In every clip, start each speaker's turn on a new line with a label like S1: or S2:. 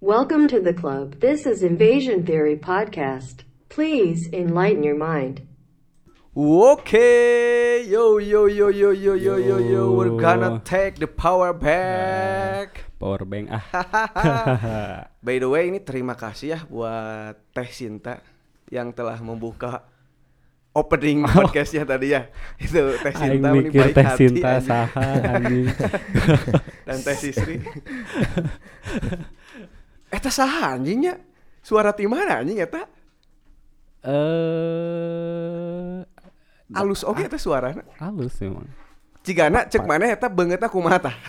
S1: Welcome to the club. This is Invasion Theory Podcast. Please enlighten your mind.
S2: Okay, yo yo yo yo yo yo yo yo, we're
S3: Yo.
S2: gonna take the power back.
S3: power bank ah Nah.
S2: By the way, ini terima kasih ya buat Teh Sinta yang telah membuka opening podcastnya tadi ya. Itu Teh
S3: Oh. aing
S2: Sinta ini
S3: mikir
S2: baik
S3: teh
S2: hati,
S3: cinta
S2: anjing.
S3: saha anjing
S2: dan Teh Sisri. Eta saha anjingnya? Suara ti mana anjing eta?
S3: eh
S2: Alus oke eta suarana.
S3: halus memang
S2: Cigana cek mana ya? eta beungeutna kumaha tah?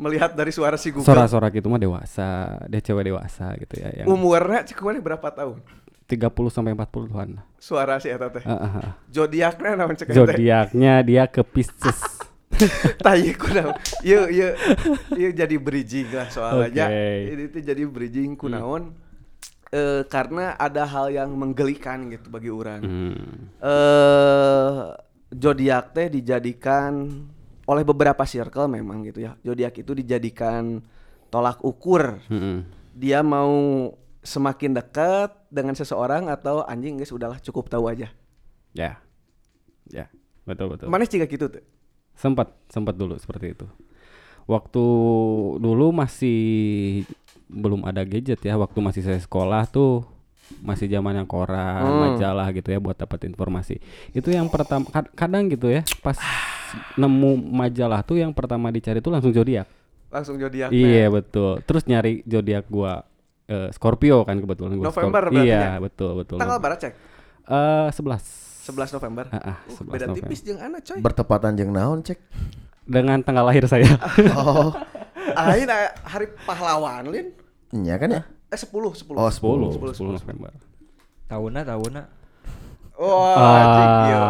S2: Melihat dari suara si Google.
S3: sora-sora gitu mah dewasa dia cewek dewasa gitu ya yang
S2: Umurnya cek mana berapa tahun?
S3: 30 sampai 40-an
S2: Suara si eta teh.
S3: Ah, ah, ah.
S2: Zodiakna naon cek eta?
S3: zodiaknya dia ke Pisces
S2: Tahu kunaon. Yeu yeu yeu jadi bridging lah soalnya.
S3: Oke.
S2: Ini tuh jadi bridging kunaon. Eh, karena ada hal yang menggelikan gitu bagi orang.
S3: hmm.
S2: eh zodiak teh dijadikan oleh beberapa circle memang gitu ya. Zodiak itu dijadikan tolak ukur.
S3: Mm-mm.
S2: Dia mau semakin dekat dengan seseorang atau anjing guys udahlah cukup tahu aja.
S3: ya ya betul betul
S2: Mana jika gitu tuh?
S3: sempat sempat dulu seperti itu waktu dulu masih belum ada gadget ya waktu masih saya sekolah tuh masih zaman yang koran
S2: Hmm.
S3: majalah gitu ya buat dapat informasi itu yang pertama kad- kadang gitu ya pas nemu majalah tuh yang pertama dicari tuh langsung zodiak
S2: Langsung zodiak.
S3: iya betul terus nyari zodiak gua eh, Scorpio kan kebetulan gua
S2: November berarti
S3: Scorpio. iya
S2: ya?
S3: betul betul
S2: Tanggal berapa cek?
S3: Eh, 11
S2: 11 November.
S3: Ah, ah,
S2: Uh,
S3: 11
S2: beda
S3: November.
S2: tipis jeung Ana coy.
S4: bertepatan jeung naon cek
S3: dengan tanggal lahir saya
S4: oh
S2: Lain ah, hari pahlawan lin.
S4: nya kan ya
S2: Eh 10 10.
S4: oh
S3: 10
S4: 10
S3: 10 November
S5: tahunnya tahunnya
S2: Wah,
S3: Ah.
S2: anjing, iya.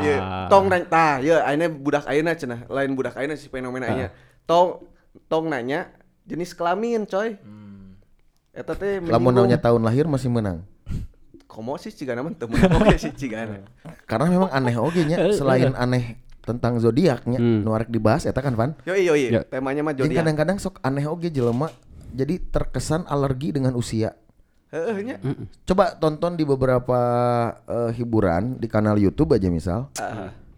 S2: Iya, tong nanya, tah, iya, ayeuna budak ayeuna cenah, lain budak ayeuna sih fenomena
S3: Ah.
S2: ayeuna. Tong tong nanya jenis kelamin, coy.
S3: Hmm.
S2: Eta teh
S4: lamun
S2: menyinggung.
S4: naonnya tahun lahir masih menang
S2: komo sih Cigana mah teu menang oge sih Cigana.
S4: karena memang aneh oge nya selain aneh tentang zodiaknya
S3: Hmm.
S4: nu arek dibahas eta kan Van
S2: Yo yo yo,
S3: Ya.
S2: temanya mah
S4: jeung
S2: zodiak.
S4: kadang-kadang sok aneh oge jelema jadi terkesan alergi dengan usia
S2: Heeh nya.
S4: coba tonton di beberapa eh, hiburan di kanal YouTube aja misal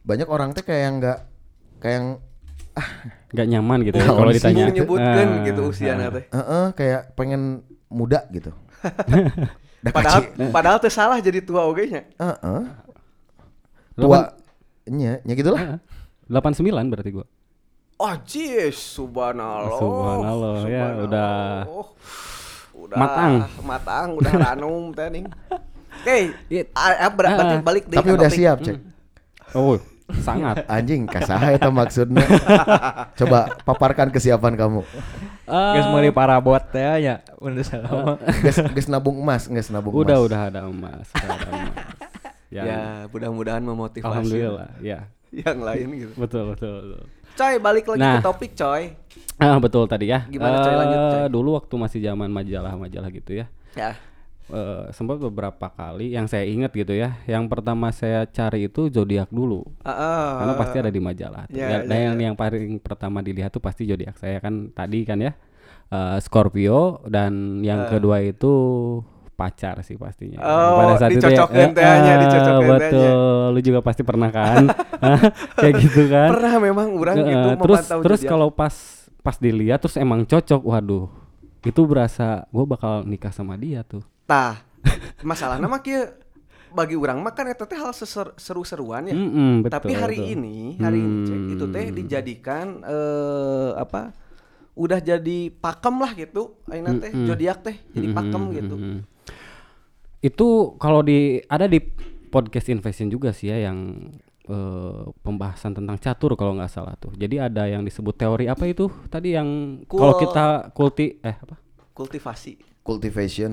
S4: banyak orang teh kayak yang nggak kayak yang "Ah,
S3: nggak nyaman gitu ya
S4: Lawan
S3: kalau
S4: sih.
S3: ditanya
S2: Sibuk nyebutkeun
S3: Ah,
S2: Oh, gitu usiana
S3: ah.
S2: teh.
S4: eh, eh, kayak pengen muda gitu Dah
S2: Padahal
S4: kaci-
S3: Eh.
S2: padahal teu salah jadi tua oge nya.
S4: eh, eh.
S3: Lu kan-
S4: tua nya gitu nya gitulah
S3: Ah, 89 berarti gua
S2: Oh jeez, subhanallah.
S3: Subhanallah, ya, udah-
S2: udah
S3: Matang.
S2: matang, udah ranum teh ning. Oke,
S3: Iya.
S2: ah, ah, ber- berarti
S3: Ah,
S2: balik deh
S4: tapi
S2: ke
S4: udah
S2: topik.
S4: siap cek
S3: oh sangat
S4: anjing kasaha itu maksudnya coba paparkan kesiapan kamu
S3: Ah,
S5: guys mulai parabot ya ya udah salah
S4: guys guys nabung emas guys nabung
S3: Eh. udah
S4: emas
S3: udah ada emas udah ada emas.
S2: Ya,
S3: Ya,
S2: mudah-mudahan memotivasi
S3: alhamdulillah ya
S2: yang lain gitu.
S3: betul betul, betul.
S2: Coy, balik lagi
S3: Nah.
S2: ke topik, coy.
S3: ah betul tadi ya
S2: Nah, Gimana, Coy? Lanjut,
S3: Eh,
S2: Coy.
S3: dulu waktu masih zaman majalah-majalah gitu ya
S2: Ya.
S3: eh, sempat beberapa kali yang saya ingat gitu ya yang pertama saya cari itu zodiak dulu
S2: Heeh.
S3: karena pasti ada di majalah. tuh.
S2: Ya,
S3: Dan-
S2: ya,
S3: dan yang, yang paling pertama dilihat tuh pasti zodiak saya kan tadi kan ya eh, Scorpio dan yang kedua itu pacar sih
S2: Eh.
S3: pastinya.
S2: Oh,
S3: ya,
S2: dicocokin teh nya,
S3: eh,
S2: dicocokin teh nya.
S3: Betul, lu juga pasti pernah kan? Hah? Kayak gitu kan?
S2: Pernah memang orang
S3: Eh,
S2: gitu
S3: terus
S2: memantau
S3: terus
S2: jejak.
S3: kalau pas pas dilihat terus emang cocok, waduh. Itu berasa gue bakal nikah sama dia tuh.
S2: tah masalahnya mah kieu bagi orang mah kan eta teh hal seser- seru-seruan ya.
S3: Mm-mm, betul,
S2: Tapi hari
S3: betul. Hmm.
S2: ini, hari ini cek itu teh dijadikan eh apa? Udah jadi pakem lah gitu. Aina teh zodiak teh jadi pakem gitu.
S3: itu kalau di ada di podcast invasion juga sih ya yang eh, pembahasan tentang catur kalau nggak salah tuh jadi ada yang disebut teori apa itu tadi yang kalau
S2: Kul-
S3: kita kulti eh apa
S2: Kultivasi.
S4: cultivation cultivation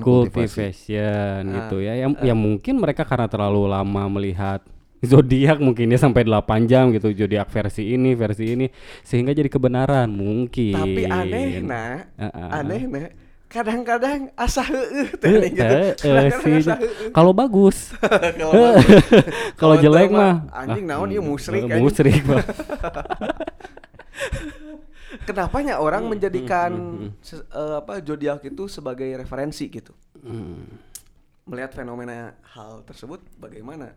S3: cultivation gitu ya yang yang mungkin mereka karena terlalu lama melihat zodiak mungkin ya sampai 8 jam gitu zodiak versi ini versi ini sehingga jadi kebenaran mungkin
S2: Tapi anehna,
S3: Heeh.
S2: anehna kadang-kadang asa heueuh teh
S3: Eh,
S2: aing gitu.
S3: eh, eh,
S2: Kadang-kadang
S3: sih.
S2: asa heueuh.
S3: kalau bagus
S2: Kalau bagus.
S3: Kalau
S2: teu
S3: jelek mah
S2: iya anjing naon ieu musrik
S3: eh,
S2: anjing.
S3: Musrik mah.
S2: kenapanya orang menjadikan se- eh, apa zodiak itu sebagai referensi gitu melihat fenomena hal tersebut bagaimana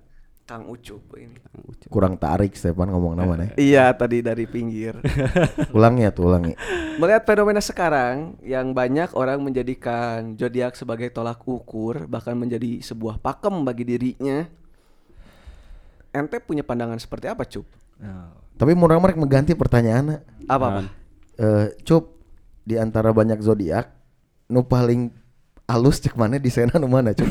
S2: Kang Ucup ini
S4: Kurang tarik Stefan ngomong nama nih.
S2: iya tadi dari pinggir
S4: Ulang ya tuh ulangi.
S2: melihat fenomena sekarang yang banyak orang menjadikan zodiak sebagai tolak ukur bahkan menjadi sebuah pakem bagi dirinya ente punya pandangan seperti apa cup
S5: Nah,
S4: Tapi murang mereka mengganti pertanyaannya.
S2: apa apa
S4: Eh, cup di antara banyak zodiak nu paling alus cek mana desainnya nu mana cup.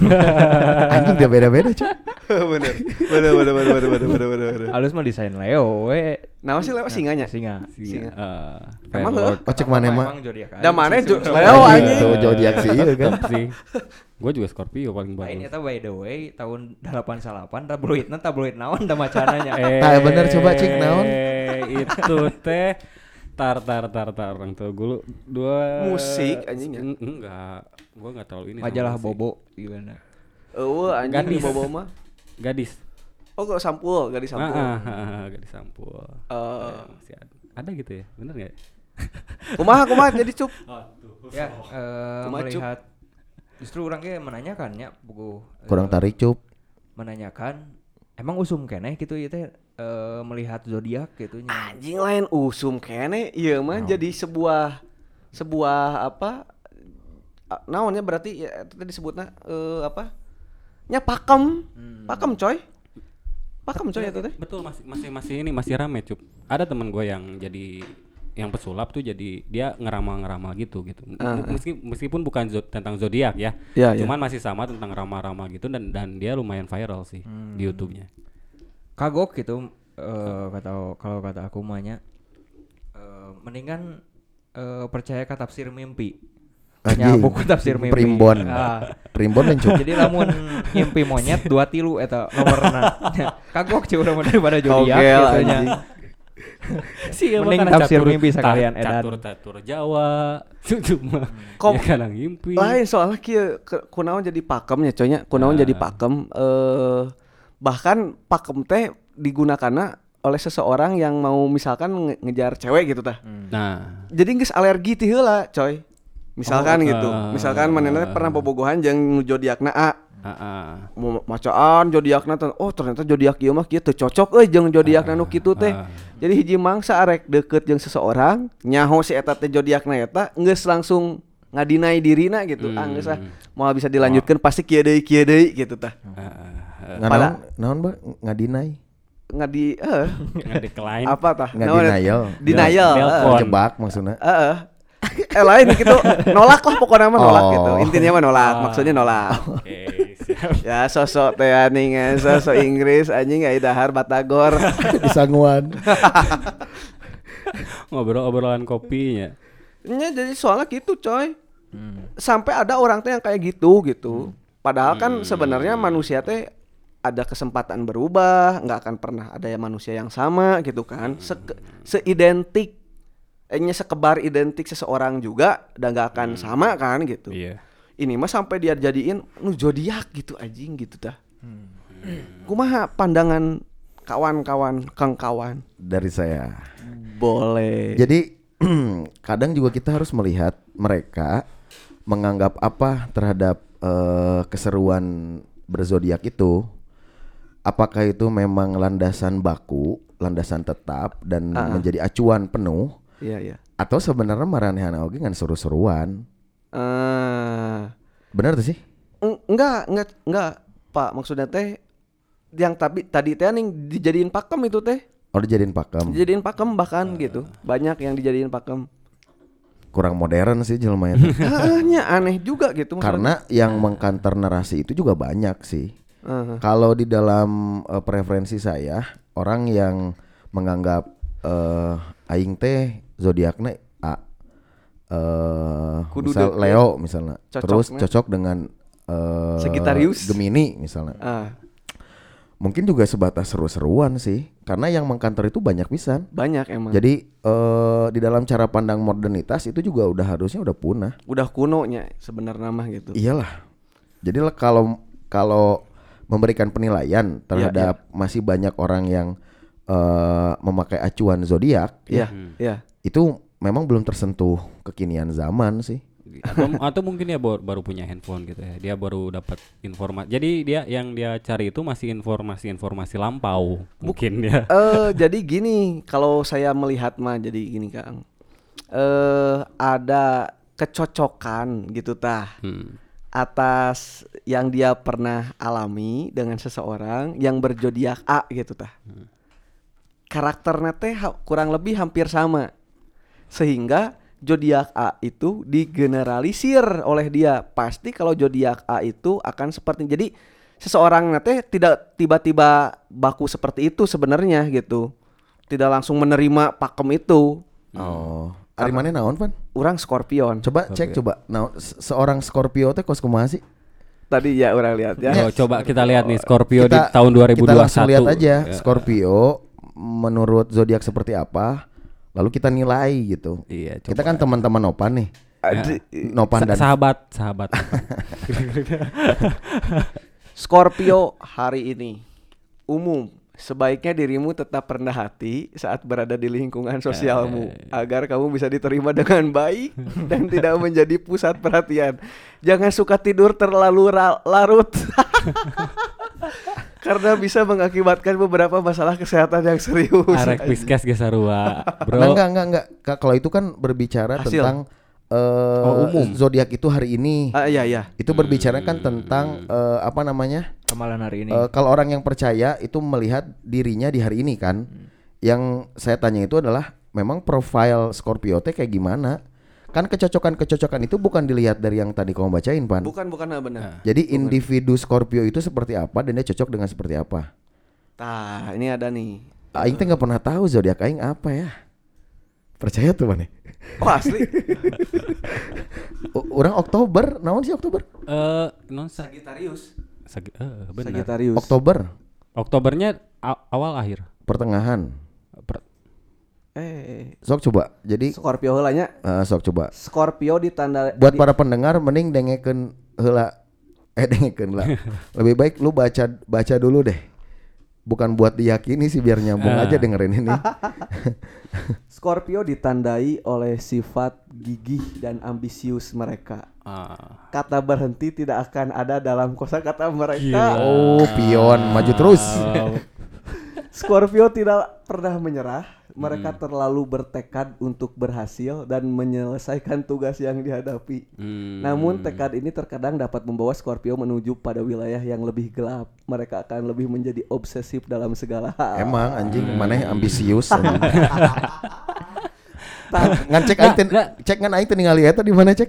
S4: Anjing dia beda-beda cup.
S2: bener bener bener bener bener bener bener bener, bener.
S5: Alus mah desain Leo, we.
S2: Nama sih lewat singanya.
S5: Singa.
S2: Singa.
S3: Eh,
S2: Ya, Emang lo?
S3: Firework.
S4: Oh cek mana mah.
S5: Emang zodiak aja.
S2: Dan mana
S5: Sih,
S2: Jo-
S5: sih.
S2: Leo
S4: Iya,
S2: anjing.
S4: tuh zodiak sih iya kan.
S3: Tetep sih. Gue juga Scorpio paling
S5: Lain
S3: bagus.
S5: eta by the way tahun 88 tabloidna tabloid naon da macananya.
S3: Eh,
S4: Tah, Nah, bener, coba cek naon.
S3: Itu teh tar tar tar tar orang tua gue lu- dua
S2: Musik, anjing, ya?
S3: Eng- enggak gue enggak terlalu ini sama
S5: Majalah
S3: musik.
S5: Bobo gimana?
S2: Eueuh Oh, anjing di
S3: Gadis.
S2: bobo mah.
S3: gadis
S2: Oh, kok sampul, gadis sampul.
S3: Ah, ah, ah, ah, gadis sampul
S2: Eh.
S3: Eh, masih ada. ada gitu ya bener nggak ya?
S2: Kumaha kumaha jadi cup.
S5: Ya, eh,
S2: Kumaha, Cup?
S5: melihat justru orang ge menanyakannya buku eh,
S4: Kurang tarik cup.
S5: menanyakan emang usum keneh gitu ya teh eh, melihat zodiak gitu nya.
S2: Anjing lain usum kene ieu mah jadi sebuah sebuah apa? a- Naonnya berarti ya itu tadi disebutna eh, apa? Nya pakem. Pakem coy. Pakem coy itu teh.
S3: betul masih masih masih ini masih rame cup ada teman gue yang jadi yang pesulap tuh jadi dia ngeramal-ngeramal gitu gitu M-
S5: Ah.
S3: meski- meskipun bukan zo- tentang zodiak ya
S2: Ya, ya.
S3: cuman masih sama tentang ramal-ramal gitu dan dan dia lumayan viral sih di YouTube-nya
S5: Kagok gitu eh, kata kalau kata aku mahnya eh, mendingan eh, percaya ke tafsir mimpi. Ya,
S4: Anjing.
S5: buku tafsir mimpi.
S4: Primbon.
S5: Ah.
S4: Primbon yang cup.
S5: Jadi lamun mimpi monyet dua tilu eta nomorna. Kagok cuy urang mah daripada zodiak
S2: Togel,
S5: gitu nya.
S2: anjing.
S3: sih
S5: Mending tafsir mimpi sekalian, Edan.
S3: catur catur Jawa cuma
S2: Kom-
S3: ya kadang mimpi
S2: Lain soalnya kieu ke- kunaon jadi pakemnya coy nya. Kunaon jadi pakem eh bahkan pakem teh digunakan oleh seseorang yang mau misalkan nge- ngejar cewek gitu tah.
S3: nah
S2: jadi nggak alergi ti heula coy misalkan
S3: Oh,
S2: gitu
S3: ah.
S2: misalkan manehna teh pernah bobogohan jeung nu zodiakna A
S3: ah, ah.
S2: Mo- macaan zodiakna teh oh ternyata zodiak ieu mah kieu teu cocok euy jeung zodiakna nu kitu teh
S3: ah.
S2: jadi hiji mangsa arek deukeut jeung seseorang nyaho si eta teh zodiakna eta geus langsung ngadinai dirina gitu
S3: Hmm.
S2: ah geus ah mau bisa dilanjutkan pasti kieu deui kieu deui gitu tah
S3: ah,
S4: Nganaon naon ba ngadinai.
S2: ngadi eh
S3: nggak decline
S2: apa tah ya?
S4: Ngadenial.
S2: denial
S3: Del-
S2: heeh.
S3: Kon.
S4: Jebak maksudnya.
S2: Heeh. eh lain gitu nolak lah pokoknya mah nolak
S4: Oh.
S2: gitu intinya mah nolak maksudnya nolak
S3: oke Eh, siap
S2: ya sosok teh anjing eh, sosok Inggris anjing ya dahar batagor
S4: Di Sanguan.
S3: ngobrol obrolan kopinya
S2: Nya jadi soalnya gitu coy sampai ada orang teh yang kayak gitu gitu padahal kan sebenarnya manusia teh ada kesempatan berubah nggak akan pernah ada yang manusia yang sama gitu kan Seke- seidentik eh, nya sekebar identik seseorang juga dan nggak akan sama kan gitu
S3: iya
S2: ini mah sampai dia jadiin nu zodiak gitu anjing gitu dah. Kumaha pandangan kawan-kawan kang kawan
S4: Dari saya.
S2: boleh.
S4: Jadi kadang juga kita harus melihat mereka menganggap apa terhadap eh, keseruan berzodiak itu. Apakah itu memang landasan baku, landasan tetap dan menjadi acuan penuh
S2: Iya iya.
S4: atau sebenarnya maranehan oge ngan seru-seruan?
S2: Eh,
S4: Benar tuh sih?
S2: eng- enggak enggak enggak Pak maksudnya teh yang tapi tadi teh nih dijadiin pakem itu teh
S4: Oh dijadiin pakem.
S2: dijadiin pakem bahkan gitu banyak yang dijadiin pakem
S4: Kurang modern sih jelema itu.
S2: Heeh, nya aneh juga gitu maksudnya.
S4: Karena yang mengkanter narasi itu juga banyak sih.
S2: Heeh.
S4: Kalau di dalam eh, preferensi saya, orang yang menganggap eh, aing teh zodiaknya A. Eh,
S2: Kudu
S4: misal
S2: deket.
S4: Leo misalnya.
S2: Cocoknya.
S4: Terus cocok dengan eh,
S2: Sagittarius.
S4: Gemini misalnya.
S2: Ah,
S4: Mungkin juga sebatas seru-seruan sih, karena yang mengkanter itu banyak pisan.
S2: banyak emang
S4: Jadi eh, di dalam cara pandang modernitas itu juga udah harusnya udah punah.
S2: udah kuno nya sebenarnya mah gitu
S4: Iyalah. Jadi lah kalau kalau memberikan penilaian terhadap masih banyak orang yang eh, memakai acuan zodiak,
S2: iya iya
S4: itu memang belum tersentuh kekinian zaman sih.
S3: Gitu. atau, atau mungkin dia baru, baru punya handphone gitu ya dia baru dapat informasi jadi dia yang dia cari itu masih informasi-informasi lampau mungkin ya
S2: Eh jadi gini, kalau saya melihat mah jadi gini Kang. Eh ada kecocokan gitu tah
S3: Hmm.
S2: atas yang dia pernah alami dengan seseorang yang berjodiak A gitu tah. Karakternya teh ha- kurang lebih hampir sama. Sehingga zodiak A itu digeneralisir oleh dia. Pasti kalau zodiak A itu akan seperti jadi seseorang na teh tidak tiba-tiba baku seperti itu sebenarnya gitu. Tidak langsung menerima pakem itu.
S4: Oh, ari mana naon pan?
S2: Orang Scorpion.
S4: Coba cek coba. Nah, seorang Scorpio teh kos kumaha sih?
S2: Tadi ya orang lihat ya.
S3: Oh, coba kita lihat nih Scorpio di
S4: Kita-
S3: tahun 2021
S4: Kita langsung lihat aja
S3: Ya.
S4: Scorpio menurut zodiak seperti apa, lalu kita nilai gitu.
S3: Iya,
S4: Kita kan teman-teman Nopan nih.
S2: Adi-
S4: Nopan
S3: Sa-
S4: dan
S3: sahabat sahabat
S2: Scorpio hari ini umum sebaiknya dirimu tetap rendah hati saat berada di lingkungan sosialmu agar kamu bisa diterima dengan baik dan tidak menjadi pusat perhatian. Jangan suka tidur terlalu ra- larut karena bisa mengakibatkan beberapa masalah kesehatan yang serius.
S3: arek piskes ge sarua bro
S4: Nah, enggak enggak enggak. Ka- Kalau itu kan berbicara
S2: Hasil.
S4: tentang eh
S3: Oh, umum.
S4: zodiak itu hari ini.
S2: Ah iya iya.
S4: Itu berbicara kan tentang eh, apa namanya?
S5: Ramalan hari ini.
S4: Eh, kalau orang yang percaya itu melihat dirinya di hari ini kan. Yang saya tanya itu adalah memang profil Scorpio teh kayak gimana? Kan kecocokan-kecocokan itu bukan dilihat dari yang tadi kamu bacain, Pan.
S2: Bukan bukan ah, benar.
S4: Jadi individu Scorpio itu seperti apa dan dia cocok dengan seperti apa?
S2: Tah, ini ada nih.
S4: Aing teh nggak pernah tahu zodiak aing apa ya. Percaya tuh, Pan? ya?
S2: Oh asli.
S4: U- Orang Oktober, naon sih Oktober?
S3: eh non sa-
S2: Sagitarius.
S3: sagi- eh, benar
S2: Sagitarius.
S4: Oktober
S3: Oktobernya a- awal akhir
S4: pertengahan.
S3: Per-
S2: Eh,
S4: Sok coba. Jadi
S2: Scorpio heula nya.
S4: eh, sok coba.
S2: Scorpio ditanda
S4: Buat para pendengar mending dengekeun heula eh dengekeun lah. Lebih baik lu baca baca dulu deh. Bukan buat diyakini sih biar nyambung
S3: Ah.
S4: aja dengerin ini.
S2: Scorpio ditandai oleh sifat gigih dan ambisius mereka.
S3: ah.
S2: Kata berhenti tidak akan ada dalam kosakata mereka.
S3: Gila.
S4: oh, pion maju terus.
S2: Scorpio tidak pernah menyerah. Mereka terlalu bertekad untuk berhasil dan menyelesaikan tugas yang dihadapi.
S3: Hmm.
S2: Namun tekad ini terkadang dapat membawa Scorpio menuju pada wilayah yang lebih gelap. Mereka akan lebih menjadi obsesif dalam segala hal.
S4: Emang anjing maneh ambisius. anjing.
S2: Tah,
S4: ngan cek aing teh- cek ngan aing teh ningali eta di mana cek?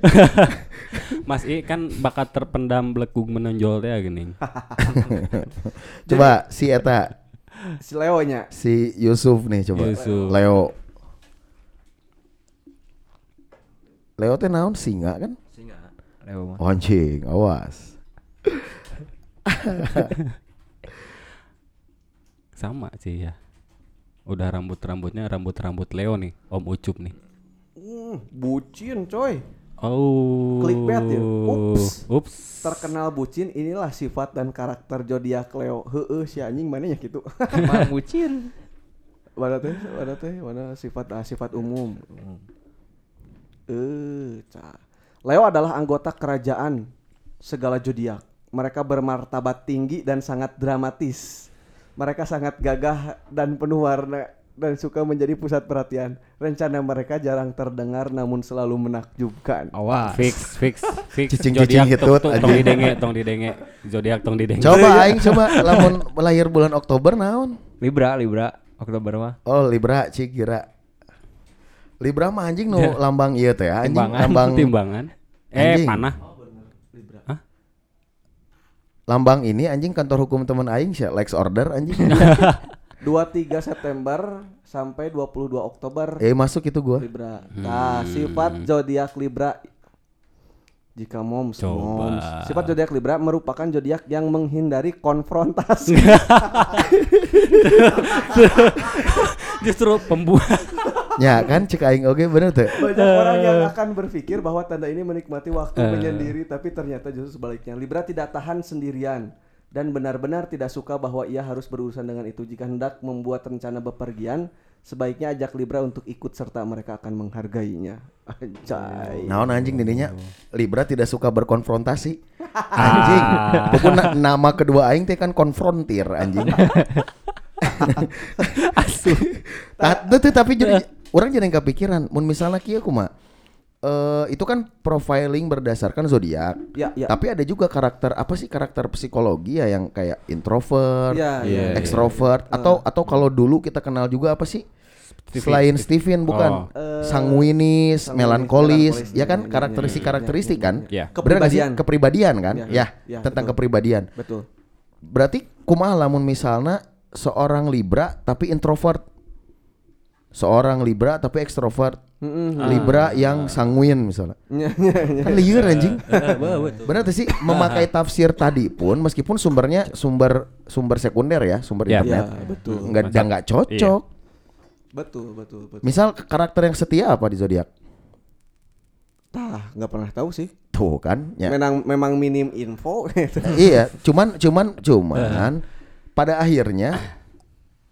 S3: Mas I kan bakat terpendam blekug menonjol ya teh geuning.
S4: coba si eta
S2: si Leo-nya
S4: si Yusuf nih coba.
S3: Yusuf.
S4: Leo. Leo teh naon singa kan? Oh,
S5: Singa. Leo mah.
S4: Anjing, awas.
S3: Sama sih ya. Udah rambut-rambutnya rambut-rambut Leo nih, Om Ucup nih.
S2: Hmm, bucin coy.
S3: Oh.
S2: Clickbait ya? Ups.
S3: Ups.
S2: Terkenal bucin inilah sifat dan karakter zodiak Leo. Heeh si anjing mananya gitu.
S5: Emang bucin.
S2: mana teh? Mana teh? Mana sifat ah, sifat umum. Eh, cah. Leo adalah anggota kerajaan segala zodiak. Mereka bermartabat tinggi dan sangat dramatis. Mereka sangat gagah dan penuh warna dan suka menjadi pusat perhatian. Rencana mereka jarang terdengar namun selalu menakjubkan.
S5: Awas.
S3: Fix, fix, fix.
S4: Cicing-cicing
S3: Zodiak
S4: hitut,
S3: tong- tong- tong
S4: anjing.
S3: didenge, tong didenge. Zodiak tong didenge.
S4: Coba aing coba lamun lahir bulan Oktober naon?
S5: Libra, Libra. Oktober mah.
S4: Oh, Libra cik kira. Libra mah anjing nu lambang ieu teh
S3: Ya.
S4: anjing
S3: Timbangan,
S4: lambang
S3: timbangan. Eh,
S4: Anjing.
S3: panah.
S4: lambang ini anjing kantor hukum teman aing sih Lex Order anjing.
S2: 23 September sampai 22 Oktober
S4: eh masuk itu gua.
S2: Libra. Nah, sifat zodiak Libra jika moms,
S3: Coba.
S2: moms. Sifat zodiak Libra merupakan zodiak yang menghindari konfrontasi.
S3: Justru pembuat.
S4: Ya kan cek aing oke bener teh.
S2: Banyak orang yang akan berpikir bahwa tanda ini menikmati waktu menyendiri, tapi ternyata justru sebaliknya. Libra tidak tahan sendirian dan benar-benar tidak suka bahwa ia harus berurusan dengan itu. Jika hendak membuat rencana bepergian, Sebaiknya ajak Libra untuk ikut serta mereka akan menghargainya. Anjay.
S4: Naon anjing dininya Libra tidak suka berkonfrontasi. Anjing. Pokoknya nama kedua aing teh kan konfrontir anjing. Asu. tapi jadi orang jadi kepikiran mun misalnya kieu kumaha. Eh itu kan profiling berdasarkan zodiak.
S2: Ya, ya.
S4: Tapi ada juga karakter apa sih karakter psikologi ya yang kayak introvert,
S2: Ya,
S3: Iya,
S2: ya.
S3: iya.
S4: extrovert atau atau kalau dulu kita kenal juga apa sih?
S3: Steven.
S4: Selain Steven
S3: Oh.
S4: bukan
S2: Eh,
S4: sanguinis,
S2: sanguinis,
S4: melankolis,
S2: melankolis,
S4: ya
S2: iya,
S4: kan
S2: iya,
S4: karakteristik
S2: iya, iya,
S4: karakteristik
S2: iya,
S4: kan?
S3: iya.
S4: Bener nggak sih?
S2: Kepribadian.
S4: Kepribadian kan?
S2: Iya,
S4: Ya,
S2: iya,
S4: tentang
S2: betul.
S4: kepribadian.
S2: Betul.
S4: Berarti kumaha lamun misalnya seorang Libra tapi introvert. Seorang Libra tapi ekstrovert.
S3: Ah.
S4: Libra yang sanguin misalnya.
S2: Ya, ya, ya.
S4: Kan liur anjing. Benar tuh sih memakai tafsir tadi pun meskipun sumbernya sumber sumber sekunder ya, sumber
S3: Ya.
S4: internet.
S2: Ya, betul.
S4: Enggak
S3: Masa-
S4: enggak cocok.
S2: Betul, betul, betul.
S4: Misal karakter yang setia apa di zodiak?
S2: Tah, nggak pernah tahu sih.
S4: Tuh kan ya.
S2: Memang memang minim info gitu.
S4: iya, cuman cuman cuman pada akhirnya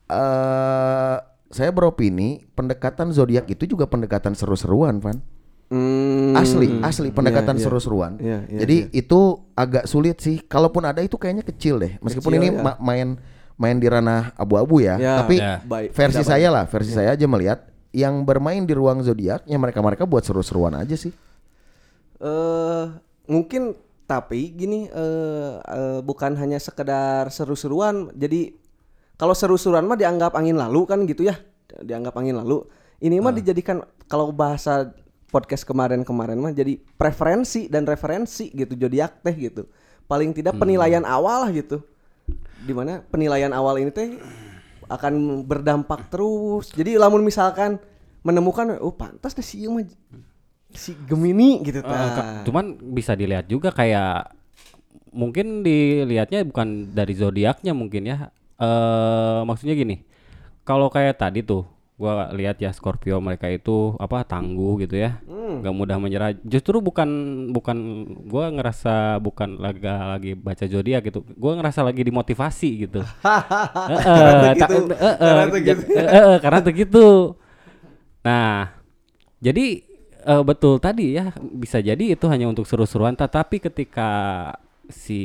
S4: eh saya beropini pendekatan zodiak itu juga pendekatan seru-seruan, Van.
S2: Hmm.
S4: Asli, asli pendekatan
S2: Iya, iya.
S4: seru-seruan.
S2: Iya, iya,
S4: Jadi
S2: iya.
S4: itu agak sulit sih. Kalaupun ada itu kayaknya kecil deh. Meskipun
S2: Kecil,
S4: ini
S2: ya.
S4: ma- main main di ranah abu-abu ya,
S2: Ya,
S4: tapi
S3: ya.
S2: Baik, Iya.
S4: versi
S2: tidak
S4: saya lah, versi saya aja melihat yang bermain di ruang zodiak, ya mereka-mereka buat seru-seruan aja sih.
S2: eh mungkin tapi gini eh eh, bukan hanya sekedar seru-seruan. Jadi kalau seru-seruan mah dianggap angin lalu kan gitu ya. Dianggap angin lalu. Ini mah dijadikan kalau bahasa podcast kemarin-kemarin mah jadi preferensi dan referensi gitu zodiak teh gitu. Paling tidak penilaian awal lah gitu. Dimana penilaian awal ini teh akan berdampak terus. Jadi lamun misalkan menemukan oh pantas deh si ieu mah si Gemini gitu
S3: Eh, ka-
S2: ta.
S3: cuman bisa dilihat juga kayak mungkin dilihatnya bukan dari zodiaknya mungkin ya. Eh maksudnya gini. Kalau kayak tadi tuh gua lihat ya Scorpio mereka itu apa tangguh gitu ya. nggak mudah menyerah. Justru bukan bukan gua ngerasa bukan laga lagi baca zodiak gitu. Gua ngerasa lagi dimotivasi gitu. Heeh, tak-
S2: gitu.
S3: eh, eh,
S2: Karena tuh
S3: ja- eh, eh, eh, karena tuh gitu. Nah, jadi eh, betul tadi ya bisa jadi itu hanya untuk seru-seruan, tetapi ketika si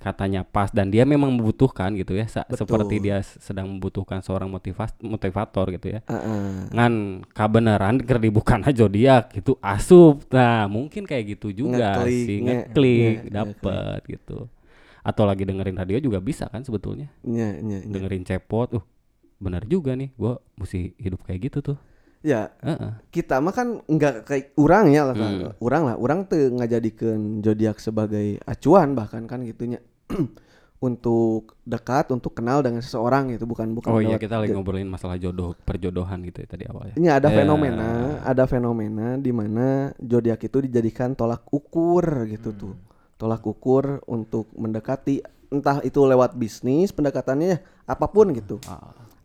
S3: katanya pas dan dia memang membutuhkan gitu ya, sa- seperti dia s- sedang membutuhkan seorang motivas- motivator gitu ya.
S2: Eh,
S3: Ngan kabeneran ker dibukan aja zodiak gitu asup. Nah, mungkin kayak gitu juga
S2: Ngeklik,
S3: sih
S2: nge-
S3: ngeklik
S2: nge-
S3: dapet gitu. Atau lagi dengerin radio juga bisa kan sebetulnya
S2: Nya, nya, nya.
S3: dengerin cepot, uh benar juga nih, gua mesti hidup kayak gitu tuh.
S2: Ya,
S3: Heeh.
S2: kita mah kan nggak kayak urang ya lah kan.
S3: Hmm.
S2: Urang lah, urang teu ngajadikeun zodiak sebagai acuan bahkan kan gitunya. untuk dekat, untuk kenal dengan seseorang gitu, bukan bukan
S3: Oh iya
S2: lewat-
S3: kita lagi ngobrolin masalah jodoh perjodohan gitu ya tadi awalnya.
S2: Ini ada
S3: Ya.
S2: fenomena, ada fenomena di mana zodiak itu dijadikan tolak ukur gitu
S4: Hmm.
S2: tuh. Tolak ukur untuk mendekati entah itu lewat bisnis, pendekatannya ya, apapun gitu.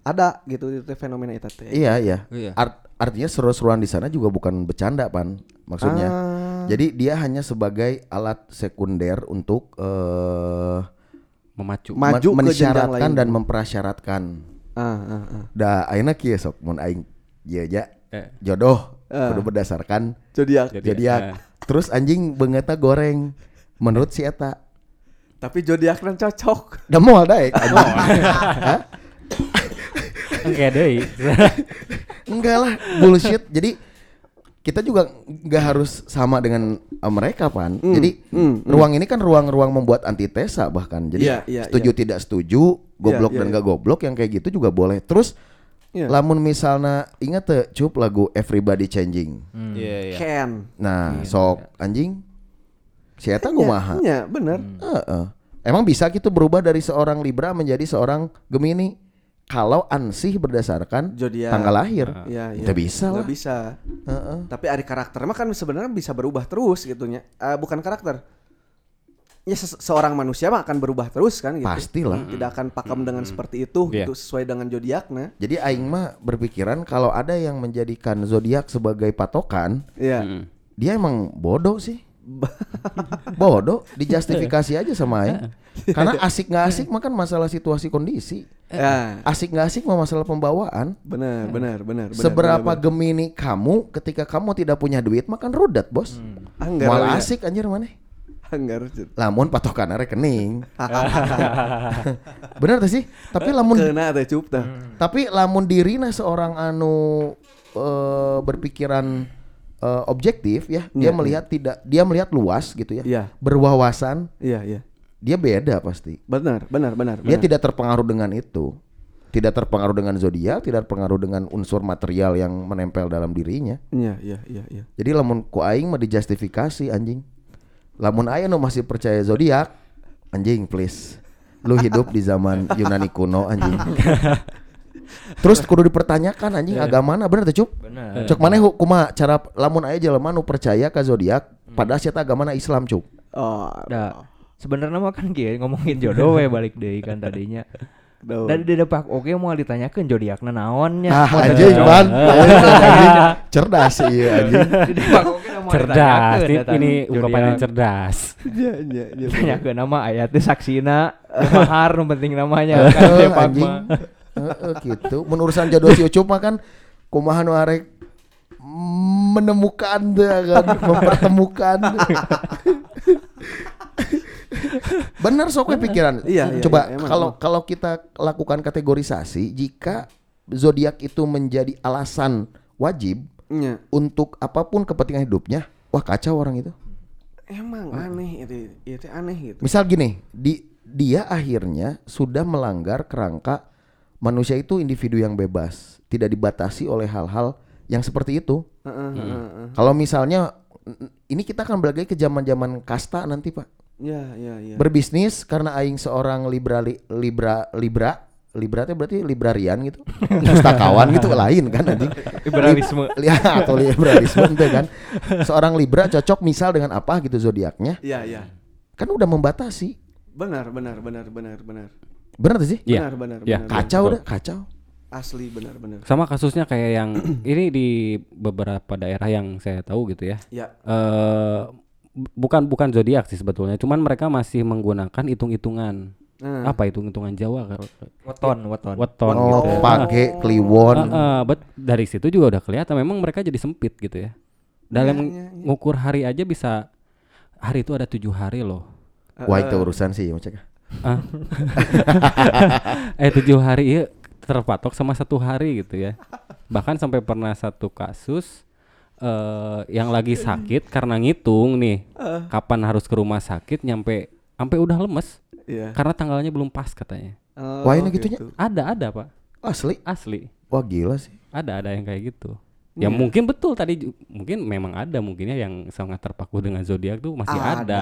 S2: Ada gitu itu teh fenomena itu teh.
S4: Ah. Iya, iya.
S3: Iya.
S4: Art- artinya seru-seruan di sana juga bukan bercanda, Pan. Maksudnya.
S2: Ah.
S4: Jadi dia hanya sebagai alat sekunder untuk eh
S3: Memacu.
S2: Ma- Maju
S4: men-
S2: ke
S4: mensyaratkan
S2: jenjang lain.
S4: dan memprasyaratkan.
S2: Ah, ah, ah.
S4: Da ayeuna kieu sok mun aing ieu ja
S3: Eh.
S4: jodoh kudu berdasarkan
S2: Zodiak.
S3: Jadi-
S4: zodiak.
S3: eh.
S4: Terus anjing beungeta goreng menurut si eta.
S2: Tapi zodiak kan cocok.
S4: Da moal
S2: eh.
S4: daek
S3: Oh.
S4: anjing. Hah?
S5: Kan
S3: Oke deh.
S4: Enggak lah, bullshit. Jadi kita juga nggak harus sama dengan eh, mereka pan.
S2: Hmm.
S4: Jadi ruang ini kan ruang-ruang membuat antitesa bahkan. Jadi
S2: Iya, iya,
S4: setuju tidak setuju, goblok
S2: iya,
S4: dan
S2: iya.
S4: nggak goblok yang kayak gitu juga boleh. Terus
S2: Iya.
S4: lamun misalnya ingat tuh cup lagu Everybody Changing.
S3: Iya iya.
S2: Ya. Ken.
S4: Nah, sok anjing. Si Eta kumaha?
S2: Iya, bener.
S4: Hmm. Heeh. Emang bisa gitu berubah dari seorang Libra menjadi seorang Gemini? Kalau ansih berdasarkan
S2: Zodiak.
S4: tanggal lahir,
S2: Iya, iya.
S4: Nggak bisa
S2: Nggak
S4: lah.
S2: bisa. Tapi ada karakter mah kan sebenarnya bisa berubah terus gitu nya. Eh, bukan karakter. Ya se- seorang manusia mah akan berubah terus kan gitu.
S4: Pastilah. Hmm.
S2: Tidak akan pakem dengan seperti itu
S3: Iya.
S2: gitu sesuai dengan zodiaknya.
S4: Jadi aing mah berpikiran kalau ada yang menjadikan zodiak sebagai patokan,
S2: Iya.
S4: Hmm. dia emang bodoh sih. bodoh dijustifikasi aja sama aing. Karena asik nggak asik mah kan masalah situasi kondisi.
S2: Ya,
S4: Asik nggak asik mah masalah pembawaan.
S2: benar, benar, benar. benar,
S4: Seberapa
S2: benar,
S4: gemini kamu ketika kamu tidak punya duit makan rudat, Bos.
S2: benar. Anggar,
S4: Malah
S2: ya.
S4: asik anjir maneh.
S2: Anggar. Cun.
S4: Lamun patokannya rekening. Bener tuh sih? Tapi lamun
S2: Kena teh cup teh.
S4: tapi lamun dirina seorang anu eh, berpikiran eh, objektif ya, dia
S2: Iya,
S4: melihat tidak dia melihat luas gitu ya.
S2: Iya.
S4: Berwawasan,
S2: Iya, iya.
S4: dia beda pasti.
S2: Benar, benar, benar.
S4: Dia
S2: benar.
S4: tidak terpengaruh dengan itu. Tidak terpengaruh dengan zodiak, tidak terpengaruh dengan unsur material yang menempel dalam dirinya.
S2: Iya, iya, iya, iya.
S4: Jadi lamun ku aing mah dijustifikasi anjing. Lamun aya nu masih percaya zodiak, anjing please. Lu hidup di zaman Yunani kuno anjing. Terus kudu dipertanyakan anjing agama mana bener tuh cuk?
S5: Bener.
S4: Cuk mana kuma cara lamun aya jelema nu percaya ka zodiak pada sia agama Islam cuk.
S2: Oh,
S5: Da. Nah, Sebenarnya mah kan kieu ngomongin jodoh we balik deui kan tadinya.
S2: aduh.
S5: Dan di depan oke mau ditanyakan zodiakna naonnya.
S4: Ah
S5: Mau
S4: anjing
S5: ditanya-
S4: man. Anjing, Cerdas iya anjing.
S5: Di depan oge mau
S3: cerdas
S5: ditanyakeun, eta.
S3: ini ungkapan yang
S5: Zodiak.
S3: cerdas
S2: Iya, iya, iya.
S5: Tanya ke nama ayat teh saksina mahar nu penting
S2: Ya,
S5: namanya kan
S4: Heeh,
S5: Depak
S4: anjing.
S5: mah.
S4: Heeh, gitu. Menurusan jodoh si Ucup mah kan kumaha nu arek menemukan teh kan, mempertemukan. Bener sok we pikiran.
S2: Iya, iya,
S4: Coba
S2: iya, emang,
S4: kalau
S2: emang.
S4: kalau kita lakukan kategorisasi jika zodiak itu menjadi alasan wajib
S2: Iya.
S4: untuk apapun kepentingan hidupnya, wah kacau orang itu.
S2: Emang aneh itu, itu aneh gitu.
S4: Misal gini, di dia akhirnya sudah melanggar kerangka manusia itu individu yang bebas, tidak dibatasi oleh hal-hal yang seperti itu.
S2: Heeh,
S4: Hmm.
S2: heeh, heeh.
S4: Kalau misalnya n- ini kita akan balik lagi ke zaman-zaman kasta nanti, Pak.
S2: Iya, iya, iya.
S4: Berbisnis karena aing seorang liberali, libra libra Libra teh berarti librarian gitu. Pustakawan gitu lain kan anjing.
S5: liberalisme
S4: Ya, atau liberalisme ente kan. Seorang libra cocok misal dengan apa gitu zodiaknya.
S2: Iya, iya.
S4: Kan udah membatasi.
S2: Benar, benar, benar, benar, benar.
S4: Benar tuh sih?
S3: Iya.
S2: Benar, benar,
S3: Iya.
S2: benar.
S4: Kacau
S3: Betul.
S4: dah, kacau.
S2: Asli benar, benar.
S3: sama kasusnya kayak yang ini di beberapa daerah yang saya tahu gitu ya
S2: Ya,
S3: eh bu- bukan bukan zodiak sih sebetulnya cuman mereka masih menggunakan hitung-hitungan
S2: Hmm.
S3: apa hitung-hitungan Jawa kalau-
S5: weton weton
S3: weton
S4: Oh,
S3: gitu
S4: page
S3: Eh,
S4: kliwon.
S3: eh, bet dari situ juga udah kelihatan memang mereka jadi sempit gitu ya
S2: Ya,
S3: dalam
S2: ya, ya.
S3: ngukur hari aja bisa hari itu ada tujuh hari loh
S4: Wah, itu urusan sih, Ocek.
S3: Ah. eh tujuh hari iya terpatok sama satu hari gitu ya bahkan sampai pernah satu kasus eh yang lagi sakit karena ngitung nih kapan harus ke rumah sakit nyampe sampai udah lemes
S2: iya.
S3: karena tanggalnya belum pas katanya
S2: Oh,
S4: Wah, ini gitunya.
S3: ada ada pak
S4: Asli.
S3: asli
S4: Wah, gila sih.
S3: ada ada yang kayak gitu
S2: Iya.
S3: ya mungkin betul tadi ju- mungkin memang ada mungkinnya yang sangat terpaku dengan zodiak tuh masih
S2: ada.
S3: ada,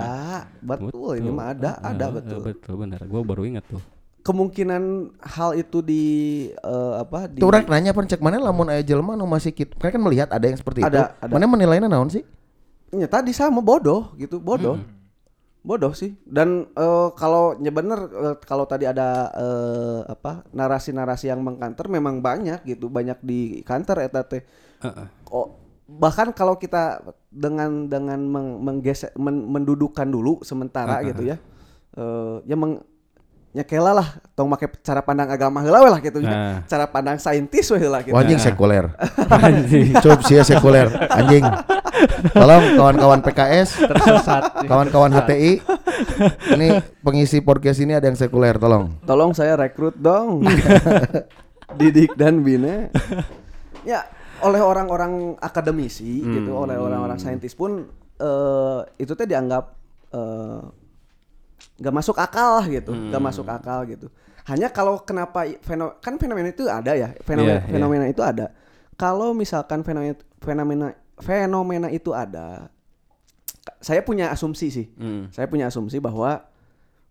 S2: Betul, ini mah ada,
S3: Eh,
S2: ada
S3: eh,
S2: betul.
S3: betul benar gua baru ingat tuh
S2: Kemungkinan hal itu di eh, apa di
S4: Tuh orang nanya pan, cek mana lamun aya jelema anu masih kit. Kan kan melihat ada yang seperti
S2: Ada,
S4: itu.
S2: ada.
S4: Mana menilainya naon sih?
S2: Ya tadi sama bodoh gitu, bodoh. Bodoh sih. Dan eh, kalau ya bener eh, kalau tadi ada eh, apa narasi-narasi yang mengkanter memang banyak gitu, banyak di kantor eta teh. Oh, bahkan kalau kita dengan dengan meng- menggesek men- mendudukkan dulu sementara gitu ya. Eh, ya meng ya kela lah tong make cara pandang agama heula we lah gitu ya. Cara pandang saintis we heula gitu.
S4: Wah, anjing sekuler.
S3: Nah. anjing
S4: Cup sia sekuler, anjing. Tolong kawan-kawan PKS,
S5: tersesat
S4: kawan-kawan HTI. Ini pengisi podcast ini ada yang sekuler, tolong.
S2: Tolong saya rekrut dong. Didik dan Bina. Ya, oleh orang-orang akademisi
S3: Hmm.
S2: gitu, oleh orang-orang saintis pun eh, itu teh dianggap eh, nggak masuk akal lah gitu, nggak
S3: Hmm.
S2: masuk akal gitu. Hanya kalau kenapa i- feno- kan fenomena itu ada ya, fenomena
S3: Iya, iya.
S2: fenomena itu ada. Kalau misalkan fenomena fenomena fenomena itu ada, saya punya asumsi sih. Saya punya asumsi bahwa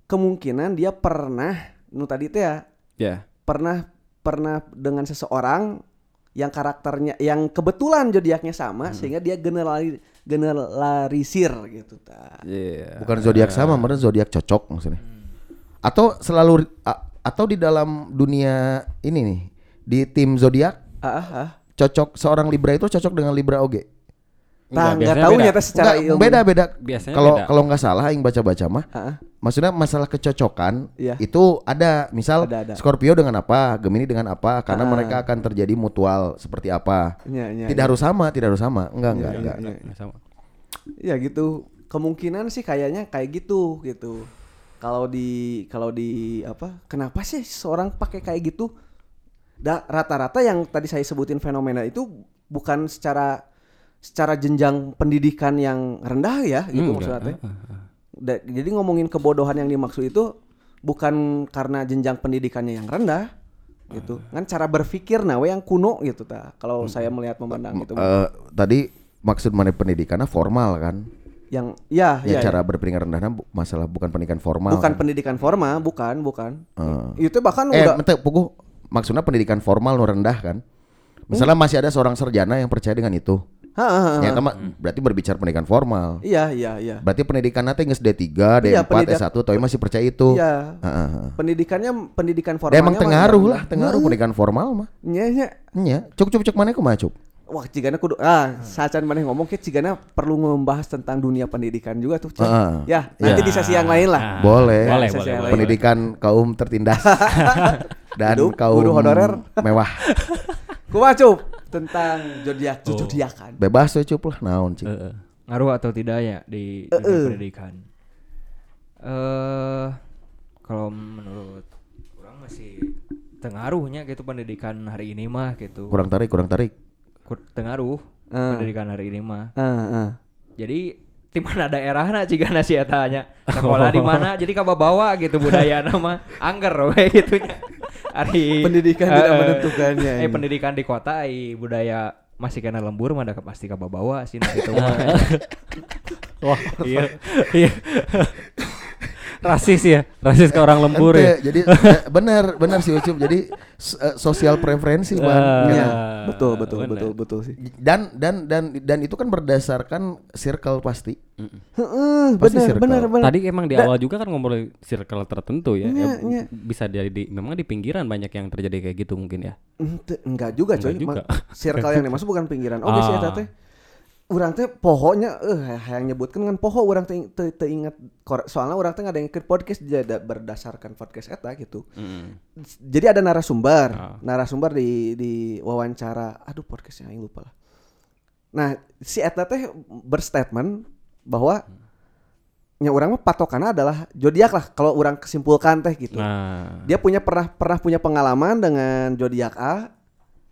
S2: kemungkinan dia pernah nu tadi teh ya,
S3: ya
S2: pernah pernah dengan seseorang yang karakternya yang kebetulan zodiaknya
S3: Hmm.
S2: sama sehingga dia generali generalisir gitu ta.
S3: Iya.
S4: Bukan zodiak sama, mana zodiak cocok maksudnya. Atau selalu a- atau di dalam dunia ini nih, di tim zodiak
S2: Ah, ah, ah.
S4: cocok seorang Libra itu cocok dengan Libra oge.
S2: Tah, nggak
S3: Enggak, biasanya
S2: tahu
S3: beda.
S2: nyata secara
S4: Enggak,
S2: ilmu.
S4: beda beda.
S3: Biasanya
S4: Kalau
S3: beda.
S4: kalau nggak salah yang baca-baca mah
S2: Ah, ah.
S4: maksudnya masalah kecocokan
S2: Iya.
S4: itu ada misal
S2: Ada, ada.
S4: Scorpio dengan apa Gemini dengan apa karena
S2: Ah.
S4: mereka akan terjadi mutual seperti apa
S2: Iya, iya,
S4: tidak
S2: iya.
S4: harus sama tidak harus sama enggak enggak enggak
S2: Iya.
S3: Nggak Nah, sama.
S2: Ya gitu. Kemungkinan sih kayaknya kayak gitu gitu. Kalau di kalau di apa? Kenapa sih seorang pakai kayak gitu? Da- rata-rata yang tadi saya sebutin fenomena itu bukan secara secara jenjang pendidikan yang rendah ya gitu
S3: Hmm,
S2: maksudnya.
S3: enggak.
S2: teh. Da- jadi ngomongin kebodohan yang dimaksud itu bukan karena jenjang pendidikannya yang rendah gitu. Kan cara berpikir nah we yang kuno gitu ta. Kalau saya melihat memandang gitu. itu
S4: Eh, tadi maksud mana pendidikannya formal kan
S2: yang ya ya,
S4: ya,
S2: ya.
S4: cara berpendidikan rendahnya bu- masalah bukan pendidikan formal
S2: bukan
S4: kan?
S2: pendidikan formal bukan bukan
S4: Eh.
S2: itu bahkan
S4: eh
S2: udah
S4: bentar, puguh maksudnya pendidikan formal nu rendah kan misalnya
S2: Hmm?
S4: masih ada seorang serjana yang percaya dengan itu
S2: Ha, ha, ha.
S4: ya kan, ma- berarti berbicara pendidikan formal
S2: iya iya Ah. iya
S4: Berarti pendidikan nanti nges D3, D4,
S2: Iya, pendidik-
S4: S1 Tapi masih percaya itu
S2: Iya.
S4: Heeh, heeh.
S2: pendidikannya pendidikan ya
S4: Dia
S2: formal
S4: emang tengaruh lah Tengaruh
S2: Hmm.
S4: pendidikan formal mah
S2: nya nya
S4: Iya Cuk cuk cuk mana kumaha cuk
S2: wah cigana kudu ah sacan maneh ngomong ke cigana perlu membahas tentang dunia pendidikan juga tuh Chan.
S4: Heeh.
S2: ya nanti
S4: Iya.
S2: di sesi yang lain lah
S3: Ah,
S4: Ah, Boleh.
S3: Boleh,
S2: Saya-
S3: boleh,
S2: saya-
S3: boleh.
S4: Pendidikan kaum tertindas Dan
S2: Hidup,
S4: kaum
S2: guru honorer.
S4: mewah
S2: kumaha Cup? tentang zodiak
S3: Oh.
S2: zodiakan
S4: Bebas we cup lah naon
S3: Eh,
S4: cik
S3: eh.
S5: ngaruh atau tidak ya di dunia pendidikan eh kalau menurut kurang masih tengaruhnya gitu pendidikan hari ini mah gitu
S4: Kurang tarik kurang tarik
S5: Kur- tengaruh
S2: Eh.
S5: pendidikan hari ini mah
S2: Heeh, heeh.
S5: jadi di mana daerahna cigana sih eta nya sekolah di mana jadi ka bawa gitu budaya nama angger we gitu nya ari
S2: Pendidikan tidak
S5: Eh, eh.
S2: menentukannya, iya.
S5: eh
S2: ini.
S5: pendidikan di kota ai budaya masih kena lembur mah ada ke- pasti ka bawa sih nah itu mah
S3: Wah, iya. iya. Rasis ya, rasis ke orang lembur
S4: Ente,
S3: ya.
S4: Jadi eh, benar benar sih Ucup Jadi s- eh, sosial preferensi Bang.
S3: Eh.
S2: Iya,
S4: Gitu.
S2: betul betul
S3: bener.
S2: betul betul sih
S4: Dan dan dan dan itu kan berdasarkan circle pasti
S2: Heeh,
S4: Pasti
S2: benar
S4: circle.
S2: benar benar
S3: Tadi emang di awal juga kan ngobrol circle tertentu ya.
S2: Iya,
S3: Ya,
S2: iya.
S3: Bisa dari di, memang di pinggiran banyak yang terjadi kayak gitu mungkin ya.
S2: Ente- enggak juga coy
S3: Enggak juga.
S2: Ma- circle yang dimaksud bukan pinggiran oke sih
S3: Ah.
S2: eta teh urang teh pohonya eh hayang nyebutkan kan poho urang teh teu- teu ingat kore- soalnya urang teh ada yang podcast jadi berdasarkan podcast eta gitu jadi ada narasumber
S3: Ah.
S2: narasumber di di wawancara aduh podcastnya yang lupa lah nah si eta teh berstatement bahwa nya urang mah patokannya adalah zodiak lah kalau urang kesimpulkan teh gitu
S3: Nah,
S2: dia punya pernah pernah punya pengalaman dengan zodiak A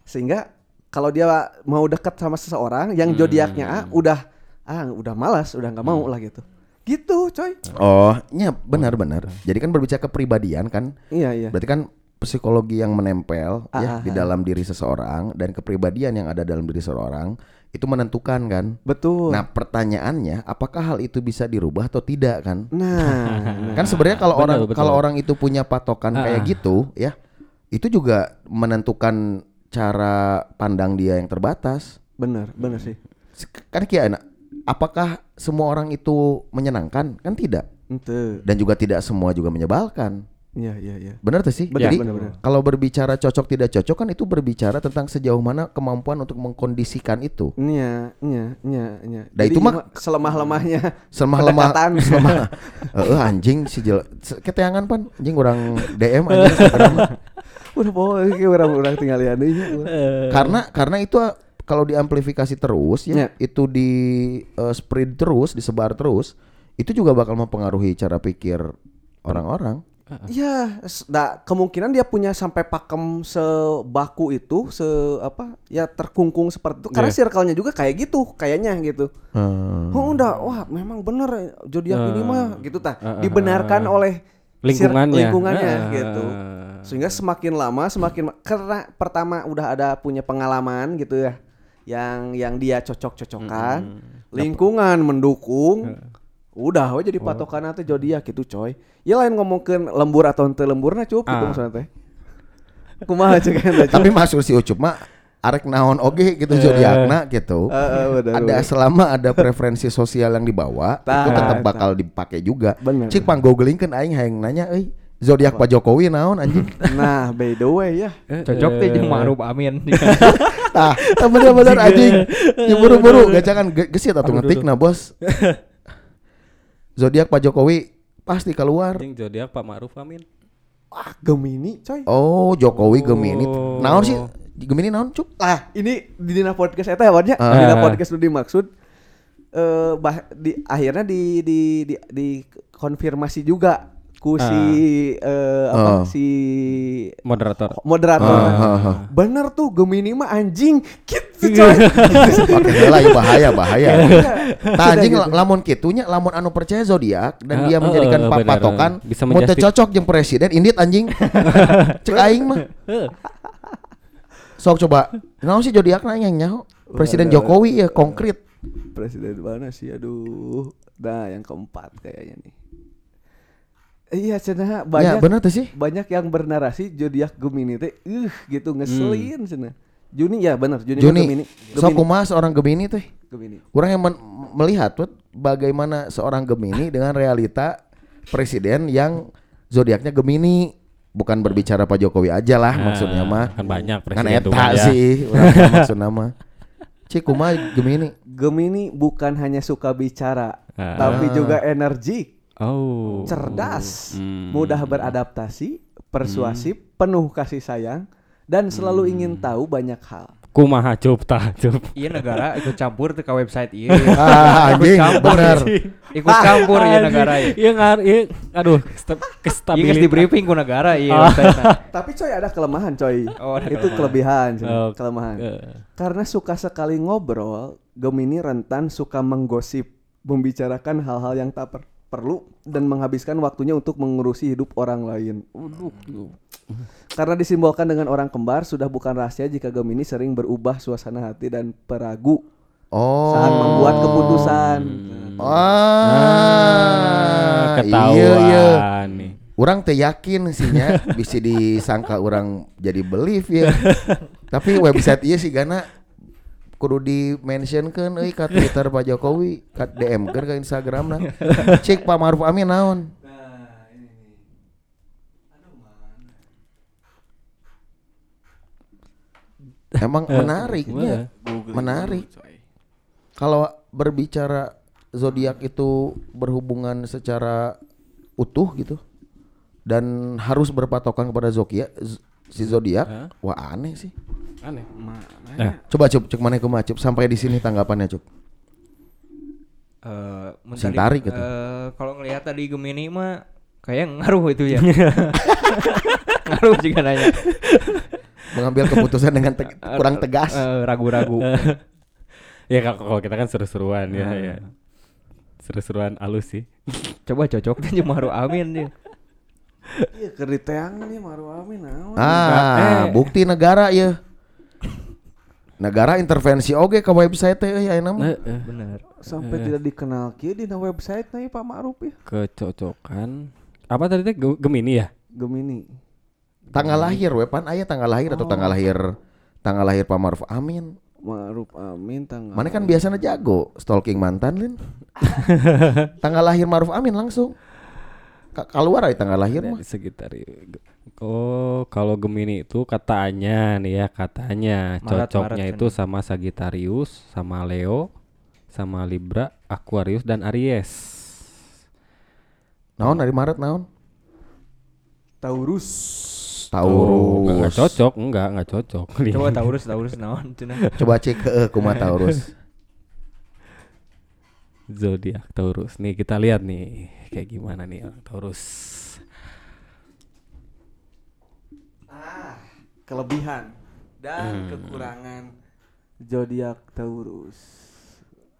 S2: sehingga kalau dia mau dekat sama seseorang yang
S4: Hmm.
S2: zodiaknya A udah ah udah malas udah nggak mau lah gitu gitu coy
S4: Oh, ya benar-benar. Jadi kan berbicara kepribadian kan,
S2: iya iya
S4: berarti kan psikologi yang menempel
S2: Ah,
S4: ya
S2: ah,
S4: di dalam diri seseorang dan kepribadian yang ada dalam diri seseorang itu menentukan kan.
S2: betul
S4: Nah, pertanyaannya apakah hal itu bisa dirubah atau tidak kan?
S2: nah
S4: Kan sebenarnya kalau
S3: benar,
S4: orang
S3: betul.
S4: kalau orang itu punya patokan
S3: Ah,
S4: kayak
S3: ah.
S4: gitu ya, itu juga menentukan cara pandang dia yang terbatas.
S2: bener bener sih
S4: Kan kia enak. Apakah semua orang itu menyenangkan? Kan tidak.
S2: ente
S4: Dan juga tidak semua juga menyebalkan.
S2: iya iya iya
S4: Benar tuh sih.
S2: Benar,
S4: Jadi
S2: benar, benar.
S4: kalau berbicara cocok tidak cocok kan itu berbicara tentang sejauh mana kemampuan untuk mengkondisikan itu.
S2: Nya, nya, nya, nya.
S4: Nah,
S2: iya, Jadi
S4: itu mah-
S2: ima- selemah-lemahnya
S4: Selemah lemah
S2: pendekatan.
S4: selemah eh anjing si jel keteangan pan anjing orang DM anjing Instagram.
S2: udah bawa orang-orang tinggal lihat ini, urang.
S4: karena karena itu ah, kalau diamplifikasi terus
S2: Ya.
S4: ya itu di eh, spread terus disebar terus itu juga bakal mempengaruhi cara pikir orang-orang.
S2: Iya, s- nah, kemungkinan dia punya sampai pakem sebaku itu, se apa ya terkungkung seperti itu. Karena circle-nya juga kayak gitu, kayaknya gitu.
S4: Hmm.
S2: Oh, udah, wah memang bener zodiak ini mah gitu tah.
S3: eh, eh,
S2: Dibenarkan
S3: eh, eh.
S2: oleh sir-
S3: Lingkungannya.
S2: lingkungannya
S3: Eh.
S2: gitu. Sehingga semakin lama semakin karena pertama udah ada punya pengalaman gitu ya, yang yang dia cocok-cocokan, lingkungan mendukung. Udah, we jadi patokan atau zodiak gitu, coy. Ya lain ngomongkeun lembur atau henteu lemburna cukup gitu
S3: Ah.
S2: maksudnya teh. Kumaha ceuk eta, cuy?
S4: Tapi masuk si Ucup mah arek naon oge gitu zodiakna gitu.
S2: Eh, eh, bener,
S4: ada
S2: bener.
S4: selama ada preferensi sosial yang dibawa itu
S2: Tah,
S4: tetap
S2: tah.
S4: bakal dipakai juga.
S2: Bener.
S4: Cik pang googlingkeun aing hayang nanya euy zodiak Pak Jokowi naon anjing.
S2: Nah, by the way ya.
S5: cocok teh jeung Ma'ruf Amin
S4: Tah, tah bener-bener Nah, anjing. Ya, Diburu-buru gacangan ge- geus eta tuh ngetikna bos. nah, Zodiak Pak Jokowi pasti keluar.
S3: Jeng zodiak Pak Ma'ruf Amin.
S2: Wah, Gemini, coy.
S4: Oh, Jokowi Gemini.
S3: Oh.
S4: Naon sih? Gemini naon, Cuk?
S2: Lah, Ah, ini di dina podcast eta ya warnya.
S4: Ah.
S2: Di dina podcast lu dimaksud eh bah, di akhirnya di di di, dikonfirmasi juga ku si eh, apa
S4: Ah.
S2: si
S3: Moderator.
S2: moderator.
S4: Ah, ah, ah.
S2: Bener tuh Gemini mah anjing gitu coy.
S4: Pakai heula ieu bahaya,
S3: Iya.
S4: bahaya. Tah anjing la- lamun kitunya lamun anu percaya zodiak
S3: gitu.
S4: dan
S3: Ah,
S4: dia
S3: eh,
S4: menjadikan
S3: eh,
S4: pa-
S3: benar.
S4: patokan
S3: Bisa
S4: mau
S3: menjustif-
S4: cocok jeung presiden indit anjing. Cek aing mah.
S3: Eh.
S4: Sok coba. Naon sih zodiak nanya nyaho? Presiden Jokowi ya konkret.
S2: Presiden mana sih aduh. Nah, yang keempat kayaknya nih. Iya, cenah
S4: Ya
S2: banyak
S4: benar tuh sih.
S2: banyak yang bernarasi zodiak Gemini teh uh gitu ngeselin cenah. Juni ya benar Juni, mah Gemini.
S4: Juni, sok
S2: Gemini.
S4: kumaha seorang Gemini teh?
S2: Gemini.
S4: Kurang yang men- melihat tuh bagaimana seorang Gemini dengan realita presiden yang zodiaknya Gemini bukan berbicara Pak Jokowi aja lah
S3: Nah,
S4: maksudnya mah
S3: kan banyak
S4: kan
S3: presiden tuh
S4: eta
S3: kan ya.
S4: sih urang mah maksudnya mah Cik kumaha Gemini
S2: Gemini bukan hanya suka bicara,
S3: Ah.
S2: tapi juga energik,
S3: Oh.
S2: cerdas,
S3: Hmm.
S2: mudah beradaptasi, persuasif, penuh kasih sayang, dan
S3: Hmm.
S2: selalu ingin tahu banyak hal.
S3: Kumaha cup tah cup.
S5: Iya negara ikut campur tuh ke website iya.
S4: Ah,
S5: ikut
S4: anjing,
S5: campur. iya,
S4: bener.
S5: Ikut campur ya
S3: Anjing.
S5: negara ya.
S3: Iya ngar, iya. Aduh, sta-
S5: Iya
S3: kestabilitas.
S5: geus di briefing ku negara iya. website-na.
S2: Tapi coy ada kelemahan coy.
S5: Oh, ada
S2: itu
S5: kelemahan. iya.
S2: kelebihan, coy.
S3: Oh,
S2: kelemahan.
S3: eh.
S2: Karena suka sekali ngobrol, Gemini rentan suka menggosip, membicarakan hal-hal yang tak per- perlu dan menghabiskan waktunya untuk mengurusi hidup orang lain. Waduh. Karena disimbolkan dengan orang kembar, sudah bukan rahasia jika Gemini sering berubah suasana hati dan peragu
S4: Oh.
S2: saat membuat keputusan.
S4: Ah,
S3: Ah, ketahuan
S4: iya, iya.
S3: nih.
S4: Orang teh yakin sih nya bisa disangka orang jadi belief ya. Tapi website iya sih gana kudu di mention kan euy ka Twitter Pak Jokowi, ka DM kan ka Instagram nah. Cek Pak Maruf Amin naon. Emang menariknya, menarik. Kalau berbicara zodiak itu berhubungan secara utuh gitu dan harus berpatokan kepada zokia z- si zodiak, wah aneh sih. Nah,
S3: Aneh.
S4: Coba cup cek mana kumaha cup sampai di sini tanggapannya cup.
S5: Eh, mun
S4: Sing
S5: tadi,
S4: tarik gitu.
S5: eh, kalau ngelihat tadi Gemini mah kayak ngaruh itu ya. ngaruh juga nanya.
S4: Mengambil keputusan dengan teg- kurang tegas.
S5: Eh, ragu-ragu.
S3: Ya kalau kalau kita kan seru-seruan ya, ya. Seru-seruan alus sih.
S5: Coba cocoknya jeung Maruf Amin dia.
S2: Iya, keriteangan ya Maruf Amin naon.
S4: Ah, bukti negara ya. Negara intervensi oge ke website ya, teh euy
S3: Eh.
S4: ayeuna
S3: Nah,
S4: mah.
S5: Bener. Eh.
S2: Sampai tidak dikenal kieu di website nih Pak Maruf ya.
S3: Kecocokan. Apa tadi teh Ge- Gemini ya?
S2: Gemini.
S4: Tanggal lahir we pan aya tanggal lahir atau tanggal lahir tanggal lahir Pak Maruf Amin.
S2: Maruf Amin tanggal.
S4: Mana kan biasanya jago stalking mantan Lin. tanggal lahir Maruf Amin langsung. Ka keluar aja tanggal lahir mah.
S3: Dari sekitar i- Oh, kalau Gemini itu katanya nih ya, katanya
S5: Maret,
S3: cocoknya
S5: Maret
S3: itu sama Sagittarius, sama Leo, sama Libra, Aquarius dan Aries.
S4: Naon dari Maret naon?
S2: Taurus.
S3: Oh, nggak- nggak
S4: Taurus.
S3: cocok, enggak, enggak cocok.
S4: Iya.
S5: Coba Taurus, Taurus naon cenah.
S4: Coba cek ke kumaha Taurus.
S3: Zodiak Taurus. Nih kita lihat nih kayak gimana nih orang Taurus.
S2: Ah, kelebihan dan kekurangan zodiak Taurus.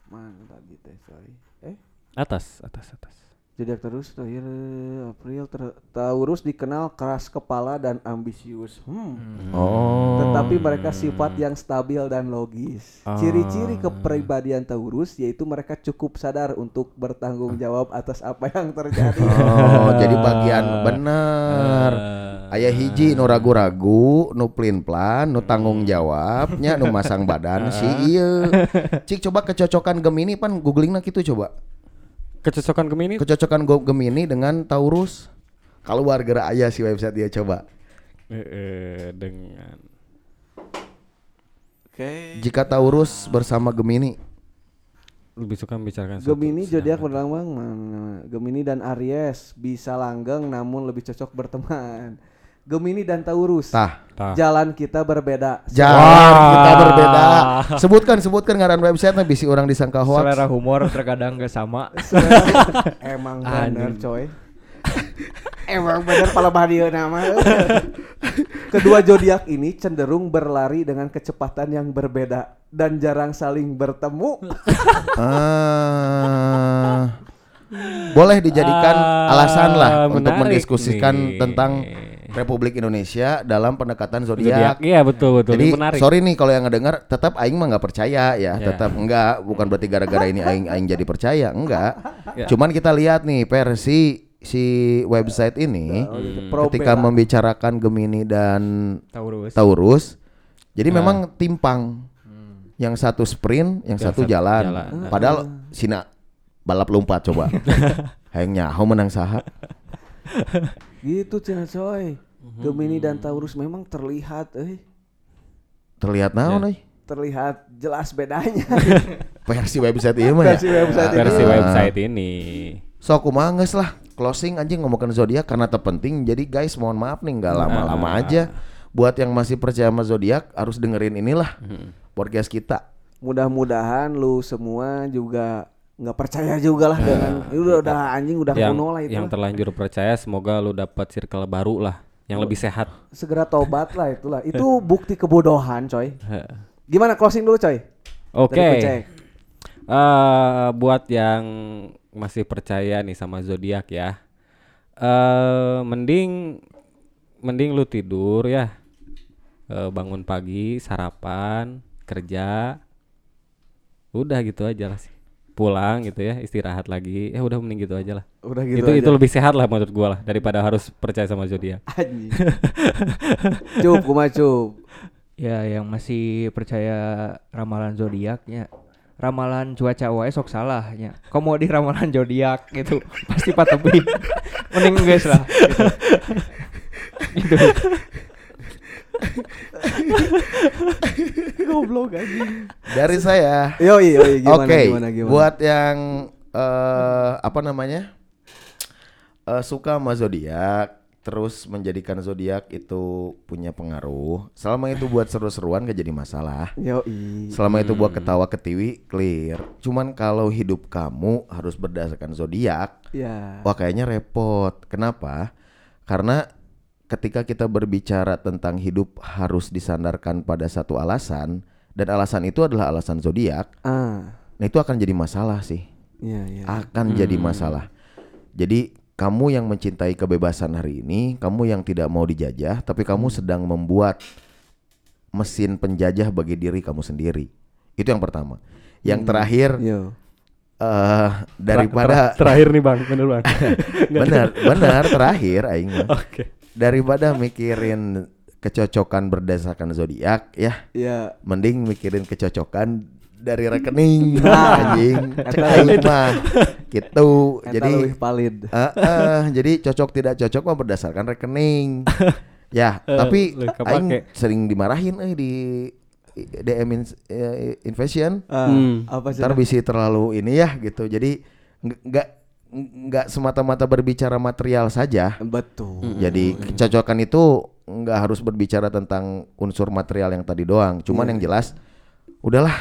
S2: Mana tadi teh sorry. Eh,
S3: Atas, atas, atas.
S2: zodiak Taurus lahir eh, April Ter- Taurus dikenal keras kepala dan ambisius. Hmm.
S4: Oh.
S2: Tetapi mereka sifat yang stabil dan logis. Ciri-ciri kepribadian Taurus yaitu mereka cukup sadar untuk bertanggung jawab atas apa yang terjadi.
S4: Oh, jadi bagian bener.
S3: Eh.
S4: Ayah hiji nu ragu-ragu, nu plin-plan, nu tanggung
S3: Hmm.
S4: jawabnya, nu masang badan si iya. Cik coba kecocokan Gemini pan googlingna gitu coba.
S3: Kecocokan Gemini
S4: Kecocokan go- Gemini dengan Taurus. Keluar gerak ayah si website dia coba.
S3: Eh, eh, dengan
S2: Oke.
S4: Jika Taurus bersama Gemini
S3: lebih suka membicarakan suatu
S2: Gemini
S3: sedang-
S2: zodiak berlambang mana? Gemini dan Aries bisa langgeng namun lebih cocok berteman. Gemini dan Taurus.
S4: Tah.
S3: Tah.
S2: Jalan kita berbeda.
S4: Jalan kita berbeda. Sebutkan sebutkan ngaran website bisi orang disangka hoax.
S5: selera humor terkadang gak sama
S2: Emang
S5: Anjing.
S2: bener coy. Emang bener pala badio nama. Kedua zodiak ini cenderung berlari dengan kecepatan yang berbeda dan jarang saling bertemu.
S4: Ah. Boleh dijadikan
S3: Ah,
S4: alasan lah untuk
S3: menarik
S4: mendiskusikan
S3: nih.
S4: tentang Republik Indonesia dalam pendekatan
S3: Zodiak.
S4: zodiak.
S3: Iya betul betul.
S4: Jadi
S3: Ini menarik.
S4: sorry nih kalau yang ngedengar tetap aing mah nggak percaya ya,
S3: Ya.
S4: tetap enggak bukan berarti gara-gara ini aing aing jadi percaya, enggak.
S3: Ya.
S4: Cuman kita lihat nih versi si website ini
S2: Oh, gitu.
S3: Hmm.
S4: ketika
S2: Probeda.
S4: membicarakan Gemini dan
S5: Taurus
S4: Taurus.
S3: Ya.
S4: Jadi memang timpang. Yang satu sprint, yang, satu,
S3: Hmm. satu
S4: jalan.
S3: jalan.
S4: Padahal sina balap lompat coba. Hayang nyaho menang saha.
S2: Gitu Cina coy. Gemini dan Taurus memang terlihat eh
S4: Terlihat
S3: Ya.
S4: naon euy?
S2: terlihat jelas bedanya.
S4: Versi website ieu mah ya.
S2: Versi website ini.
S3: versi
S4: Ah.
S3: website ini.
S4: Sok kumaha geus lah closing anjing ngomongin zodiak karena terpenting. Jadi guys mohon maaf nih
S2: Nah.
S4: nggak lama-lama aja. Buat yang masih percaya sama zodiak harus dengerin inilah
S2: Hmm.
S4: podcast kita.
S2: Mudah-mudahan lu semua juga nggak percaya juga lah dengan Ini udah udah anjing udah
S3: yang
S2: kuno lah itu.
S3: yang
S2: lah.
S3: terlanjur percaya semoga lu dapat circle baru lah yang lebih sehat.
S2: Segera tobat lah itulah. Itu bukti kebodohan coy. Gimana closing dulu coy?
S3: Oke.
S2: Dari Kucek.
S3: Eh, buat yang masih percaya nih sama zodiak ya. Eh mending mending lu tidur ya. Eh, bangun pagi, sarapan, kerja. Udah gitu aja lah sih. Pulang gitu ya, istirahat lagi. Ya udah mending gitu aja lah.
S2: Udah gitu
S3: itu
S2: aja.
S3: itu lebih sehat lah menurut gua lah daripada harus percaya sama zodiak.
S2: Anjing. cup kumah cup.
S5: ya yang masih percaya ramalan zodiaknya ramalan cuaca wae sok salahnya kamu di ramalan zodiak gitu pasti patepi mending guys lah gitu. Gitu.
S2: Goblok anjing.
S4: Dari saya.
S2: Yoi yoi gimana
S4: Oke,
S2: gimana gimana.
S4: buat yang eh apa namanya Eh, suka sama zodiak, terus menjadikan zodiak itu punya pengaruh. Selama itu buat seru-seruan gak jadi masalah.
S2: Yoi.
S4: Selama itu
S2: Hmm.
S4: buat ketawa ketiwi clear. Cuman kalau hidup kamu harus berdasarkan zodiak,
S2: Ya.
S4: wah kayaknya repot. Kenapa? Karena ketika kita berbicara tentang hidup harus disandarkan pada satu alasan dan alasan itu adalah alasan zodiak.
S2: Ah.
S4: Nah itu akan jadi masalah sih,
S2: Ya ya.
S4: akan jadi masalah. Jadi kamu yang mencintai kebebasan hari ini, kamu yang tidak mau dijajah, tapi kamu sedang membuat mesin penjajah bagi diri kamu sendiri. Itu yang pertama. Yang terakhir
S2: Yo.
S4: eh daripada
S3: terakhir nih Bang, bener Bang.
S4: benar benar terakhir aing mah.
S3: Oke.
S4: daripada mikirin kecocokan berdasarkan zodiak ya
S2: Ya.
S4: mending mikirin kecocokan dari rekening
S2: Nah,
S4: anjing
S2: eta
S4: aing mah gitu
S2: Eta
S4: jadi
S2: leuwih valid.
S4: eh, eh, jadi cocok tidak cocok mah berdasarkan rekening ya tapi
S3: leuwih Eh, kepake.
S4: aing sering dimarahin eh di DM in- eh, Invasion
S2: Ah,
S3: Hmm.
S2: apa sih?
S4: ntar bisi terlalu ini ya gitu jadi nggak nggak- nggak semata-mata berbicara material saja
S2: Betul.
S3: Hmm.
S4: jadi kecocokan itu nggak harus berbicara tentang unsur material yang tadi doang. Cuman yang jelas, udahlah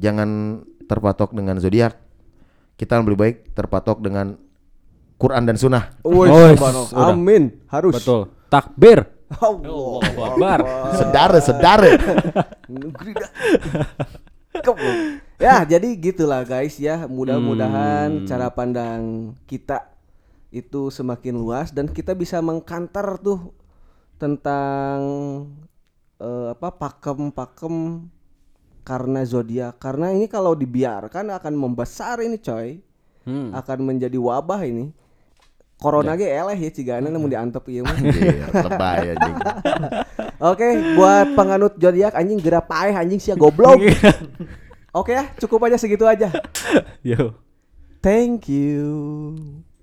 S4: jangan terpatok dengan zodiak. Kita lebih baik terpatok dengan Quran dan Sunnah.
S2: Woi,
S3: Woi,
S2: subhanallah.
S3: sudah.
S2: amin, harus.
S3: Betul. Takbir.
S2: Allah.
S3: Akbar.
S4: Sedara, sedara.
S2: Negeri dah. Kebun. Ya, jadi gitulah guys ya. Mudah-mudahan cara pandang kita itu semakin luas dan kita bisa mengkantar tuh tentang eh, apa pakem-pakem karena zodiak. Karena ini kalau dibiarkan akan membesar ini coy.
S3: Hmm.
S2: Akan menjadi wabah ini. Corona ge eleh ya cigana namun diantep ieu mah.
S4: Anjir, Iya, lebay anjing.
S2: Oke, buat penganut zodiak anjing gerak paeh anjing sia goblok.
S3: Iya.
S2: Oke ya, cukup aja segitu aja.
S3: Yo.
S2: Thank you.